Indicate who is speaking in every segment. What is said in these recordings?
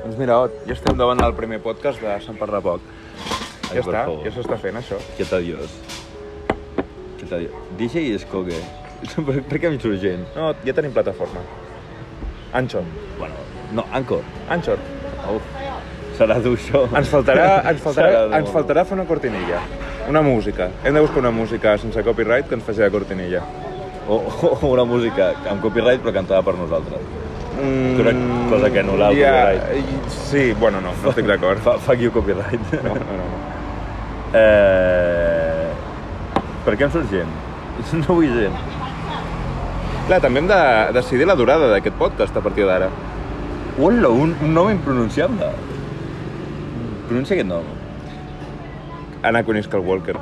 Speaker 1: Doncs mira, Ot, ja estem davant del primer podcast de Sant Parla Poc.
Speaker 2: Ai,
Speaker 1: ja
Speaker 2: per
Speaker 1: està,
Speaker 2: favor.
Speaker 1: ja s'està fent això.
Speaker 2: Què tal, Dios? Què tal, Dios? DJ Escoque. per, per què em surt gent?
Speaker 1: No, ja tenim plataforma. Anchor.
Speaker 2: Bueno, no, Anchor.
Speaker 1: Anchor.
Speaker 2: Uf, serà dur, això.
Speaker 1: Ens faltarà, ens
Speaker 2: Serà
Speaker 1: faltarà,
Speaker 2: dur.
Speaker 1: ens faltarà fer una cortinilla. Una música. Hem de buscar una música sense copyright que ens faci de cortinilla.
Speaker 2: O, o, o una música amb copyright però cantada per nosaltres.
Speaker 1: Mm,
Speaker 2: Crec- cosa que anul·la el
Speaker 1: copyright. Sí, bueno, no, no estic d'acord.
Speaker 2: Fa, fuck you, copyright.
Speaker 1: No, no, no.
Speaker 2: Eh... Per què em surt gent? No vull gent.
Speaker 1: Clar, també hem de decidir la durada d'aquest podcast a partir d'ara.
Speaker 2: Hola, un, un nom impronunciable. Pronuncia aquest nom.
Speaker 1: Anakin Skywalker.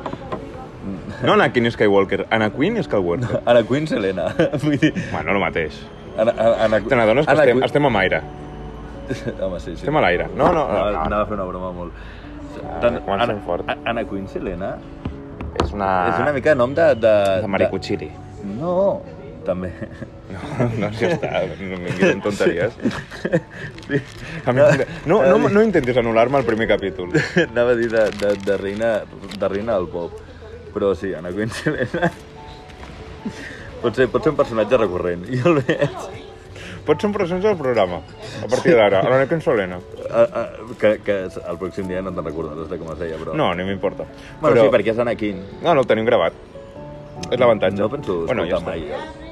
Speaker 1: No Anakin Skywalker, Anakin Skywalker.
Speaker 2: Ana Queen Selena. Vull dir...
Speaker 1: Bueno, el mateix.
Speaker 2: Ana, Ana, Ana,
Speaker 1: Te n'adones que
Speaker 2: Ana
Speaker 1: estem,
Speaker 2: Queen-
Speaker 1: estem amb aire.
Speaker 2: Home, sí, sí.
Speaker 1: Estem a l'aire. No, no, no,
Speaker 2: Anava,
Speaker 1: no,
Speaker 2: anava a fer una broma molt...
Speaker 1: comencem fort.
Speaker 2: A- Ana Queen Selena
Speaker 1: És una...
Speaker 2: és una mica nom de... De,
Speaker 1: De maricuchiri.
Speaker 2: de- No, també.
Speaker 1: No, no, ja està. No m'hi tonteries.
Speaker 2: Sí. Eh,
Speaker 1: A mi, no, no, no intentis anul·lar-me el primer capítol.
Speaker 2: Anava a dir de, de, de, reina, de reina del pop. Però sí, Ana Queen Selena... Pot ser, pot ser un personatge recurrent. Jo el veig...
Speaker 1: Pots ser un procés del programa, a partir d'ara, a l'Anakin Solena.
Speaker 2: A, a, que, que el pròxim dia no te'n recordaràs de com es deia, però...
Speaker 1: No, no m'importa.
Speaker 2: Bueno, sí, perquè és Anakin.
Speaker 1: No, no, ho tenim gravat. És l'avantatge.
Speaker 2: No penso
Speaker 1: Bueno, ja
Speaker 2: escoltar
Speaker 1: està.
Speaker 2: mai. eh?